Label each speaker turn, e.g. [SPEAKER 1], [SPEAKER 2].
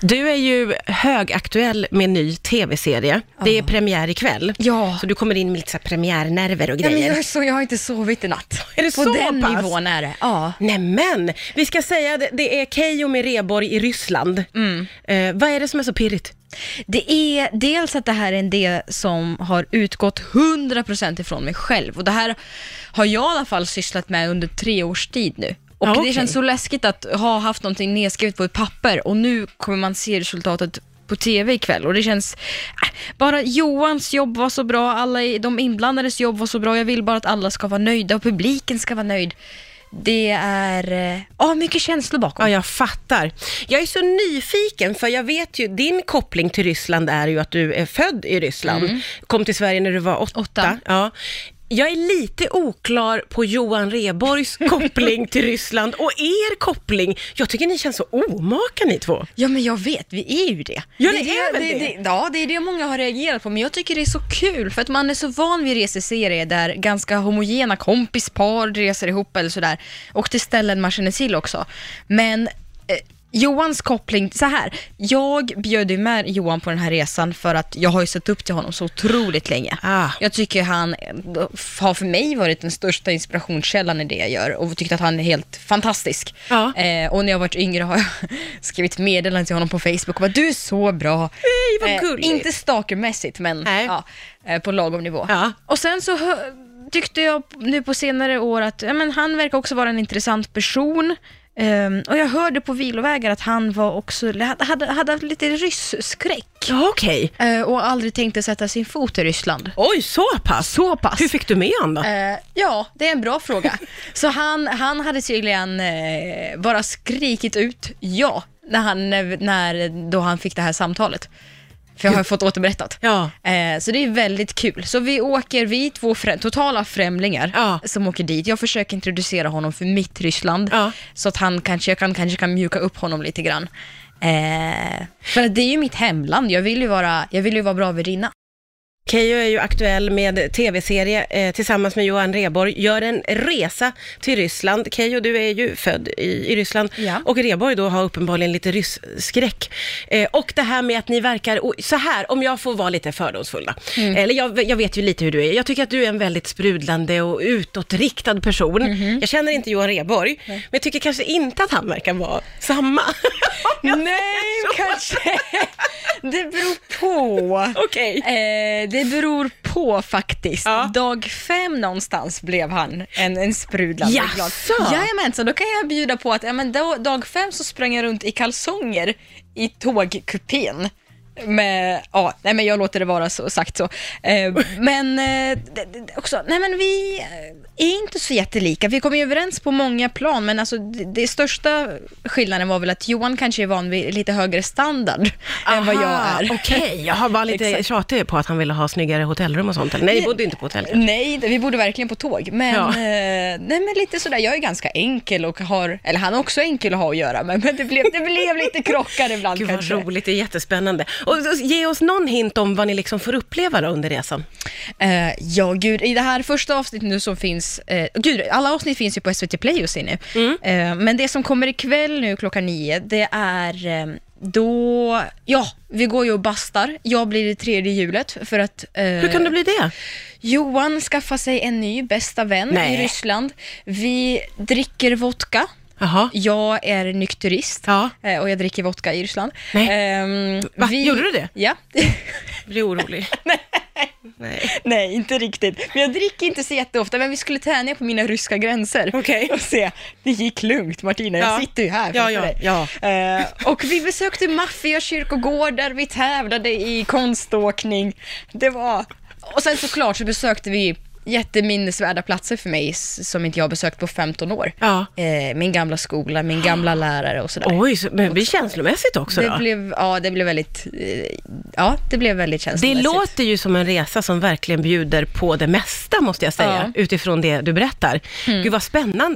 [SPEAKER 1] Du är ju högaktuell med en ny tv-serie. Det är premiär ikväll.
[SPEAKER 2] Ja.
[SPEAKER 1] Så du kommer in med lite så här premiärnerver och
[SPEAKER 2] Ja,
[SPEAKER 1] grejer.
[SPEAKER 2] men jag, är så, jag har inte sovit i natt.
[SPEAKER 1] Är det
[SPEAKER 2] På
[SPEAKER 1] så
[SPEAKER 2] den
[SPEAKER 1] pass?
[SPEAKER 2] nivån är det. Ja.
[SPEAKER 1] Nämen! Vi ska säga det, det är Keyyo med Rheborg i Ryssland.
[SPEAKER 2] Mm.
[SPEAKER 1] Eh, vad är det som är så pirrigt?
[SPEAKER 2] Det är dels att det här är en del som har utgått 100% ifrån mig själv och det här har jag i alla fall sysslat med under tre års tid nu. Och
[SPEAKER 1] Ja, okej.
[SPEAKER 2] det känns så läskigt att ha haft någonting nedskrivet på ett papper och nu kommer man se resultatet på TV ikväll och det känns, äh, bara Johans jobb var så bra, alla i- de inblandades jobb var så bra, jag vill bara att alla ska vara nöjda och publiken ska vara nöjd. Det är, eh, ja mycket känslor bakom.
[SPEAKER 1] Ja, jag fattar. Jag är så nyfiken, för jag vet ju, din koppling till Ryssland är ju att du är född i Ryssland. Kom till Sverige när du var åtta.
[SPEAKER 2] Mm. Åtta.
[SPEAKER 1] Ja. Jag är lite oklar på Johan Rheborgs koppling till Ryssland och er koppling. Jag tycker ni känns så omaka ni två.
[SPEAKER 2] Ja men jag vet, vi är ju det.
[SPEAKER 1] Ja, ni är väl det?
[SPEAKER 2] Ja, det är det många har reagerat på, men jag tycker det är så kul för att man är så van vid reseserier där ganska homogena kompispar reser ihop eller sådär och till ställen man känner till också. Men eh, Johans koppling, så här. jag bjöd ju med Johan på den här resan för att jag har ju sett upp till honom så otroligt länge.
[SPEAKER 1] Ah.
[SPEAKER 2] Jag tycker han eh, har för mig varit den största inspirationskällan i det jag gör och tyckt att han är helt fantastisk.
[SPEAKER 1] Ja.
[SPEAKER 2] Eh, och när jag varit yngre har jag skrivit meddelanden till honom på Facebook och bara du är så bra. Eh,
[SPEAKER 1] Nej, vad gulligt.
[SPEAKER 2] inte stalkermässigt men
[SPEAKER 1] Nej.
[SPEAKER 2] ja, eh, på lagom nivå.
[SPEAKER 1] Ja.
[SPEAKER 2] Och sen så hö- tyckte jag nu på senare år att ja, men han verkar också vara en intressant person. Ehm, och jag hörde på vilovägar att han var också, hade, hade haft lite rysskräck
[SPEAKER 1] Ja, okej.
[SPEAKER 2] eh, och aldrig tänkte sätta sin fot i Ryssland.
[SPEAKER 1] Oj, så pass?
[SPEAKER 2] Så pass.
[SPEAKER 1] Hur fick du med honom då?
[SPEAKER 2] Eh, ja, det är en bra fråga. Så han, han hade tydligen eh, bara skrikit ut ja, när han, eh, när, då han fick det här samtalet. För jag har ju fått återberättat.
[SPEAKER 1] Ja.
[SPEAKER 2] Eh, så det är väldigt kul. Så vi åker, vi är två frä- totala främlingar
[SPEAKER 1] Ja.
[SPEAKER 2] som åker dit. Jag försöker introducera honom för mitt Ryssland,
[SPEAKER 1] Ja.
[SPEAKER 2] så att han kanske, jag kan, kanske kan mjuka upp honom lite grann. Eh, för att det är ju mitt hemland, jag vill ju vara, jag vill ju vara bra värdinna.
[SPEAKER 1] Keyyo är ju aktuell med tv-serie eh, tillsammans med Johan Rheborg, gör en resa till Ryssland. Keyyo, du är ju född i, i Ryssland
[SPEAKER 2] Ja.
[SPEAKER 1] och Rheborg då har uppenbarligen lite rysskräck. Eh, och det här med att ni verkar, och så här, om jag får vara lite fördomsfull då.
[SPEAKER 2] Mm.
[SPEAKER 1] eller jag, jag vet ju lite hur du är, jag tycker att du är en väldigt sprudlande och utåtriktad person.
[SPEAKER 2] Mm-hmm.
[SPEAKER 1] Jag känner inte Johan Rheborg, men jag tycker kanske inte att han verkar vara samma.
[SPEAKER 2] Nej, kanske. Det beror på.
[SPEAKER 1] Okej.
[SPEAKER 2] Eh, det beror på faktiskt.
[SPEAKER 1] Ja.
[SPEAKER 2] Dag fem någonstans blev han en, en sprudlande
[SPEAKER 1] Jaså?
[SPEAKER 2] Jajamän, så då kan jag bjuda på att ja, men då, dag fem så sprang jag runt i kalsonger i tågkupén. Med, ja, nej men jag låter det vara så, sagt så. Eh, men eh, det, det, också, nej men vi eh, är inte så jättelika. Vi kommer ju överens på många plan, men alltså det, det största skillnaden var väl att Johan kanske är van vid lite högre standard än vad jag
[SPEAKER 1] Aha,
[SPEAKER 2] är.
[SPEAKER 1] Okej, jag har bara lite
[SPEAKER 2] Exakt.
[SPEAKER 1] tjatig på att han ville ha snyggare hotellrum och sånt. eller? Nej, ni bodde inte på hotell.
[SPEAKER 2] Nej, det- vi bodde verkligen på tåg. Men,
[SPEAKER 1] Ja.
[SPEAKER 2] eh, nej, men lite sådär, jag är ganska enkel och har, eller han är också enkel att ha att göra med, men det blev, det blev lite krockar ibland
[SPEAKER 1] Gud vad
[SPEAKER 2] kanske.
[SPEAKER 1] roligt, det är jättespännande. Och så ge oss någon hint om vad ni liksom får uppleva då under resan.
[SPEAKER 2] Eh, ja, gud, i det här första avsnittet nu som finns, eh, gud, alla avsnitt finns ju på SVT Play just nu.
[SPEAKER 1] Mm.
[SPEAKER 2] Eh, men det som kommer ikväll nu klockan nio, det är eh, då, ja, vi går ju och bastar. Jag blir det tredje hjulet för att... eh,
[SPEAKER 1] Hur kan det bli det?
[SPEAKER 2] Johan skaffar sig en ny bästa vän
[SPEAKER 1] Nej.
[SPEAKER 2] i Ryssland. Vi dricker vodka.
[SPEAKER 1] Jaha.
[SPEAKER 2] Jag är nykterist
[SPEAKER 1] Ja.
[SPEAKER 2] eh, och jag dricker vodka i Ryssland.
[SPEAKER 1] Nej.
[SPEAKER 2] Ehm,
[SPEAKER 1] Va? Gjorde du det?
[SPEAKER 2] Ja.
[SPEAKER 1] Jag blir orolig. Nej.
[SPEAKER 2] Nej, inte riktigt. Men jag dricker inte så jätteofta, men vi skulle tänja på mina ryska gränser
[SPEAKER 1] Okej.
[SPEAKER 2] och se. Det gick lugnt Martina, jag
[SPEAKER 1] Ja.
[SPEAKER 2] sitter ju här
[SPEAKER 1] Ja,
[SPEAKER 2] framför
[SPEAKER 1] ja,
[SPEAKER 2] dig.
[SPEAKER 1] ja.
[SPEAKER 2] Eh, och vi besökte maffiakyrkogårdar, vi tävlade i konståkning. Det var... Och sen såklart så besökte vi jätteminnesvärda platser för mig s- som inte jag har besökt på 15 år.
[SPEAKER 1] Ja.
[SPEAKER 2] Eh, min gamla skola, min gamla lärare och sådär.
[SPEAKER 1] Oj, så, men det blir känslomässigt också
[SPEAKER 2] det
[SPEAKER 1] då?
[SPEAKER 2] blev, ja, det blev väldigt, eh, ja, det blev väldigt
[SPEAKER 1] Det
[SPEAKER 2] känslomässigt.
[SPEAKER 1] låter ju som en resa som verkligen bjuder på det mesta, måste jag säga, utifrån det du berättar. Gud vad spännande.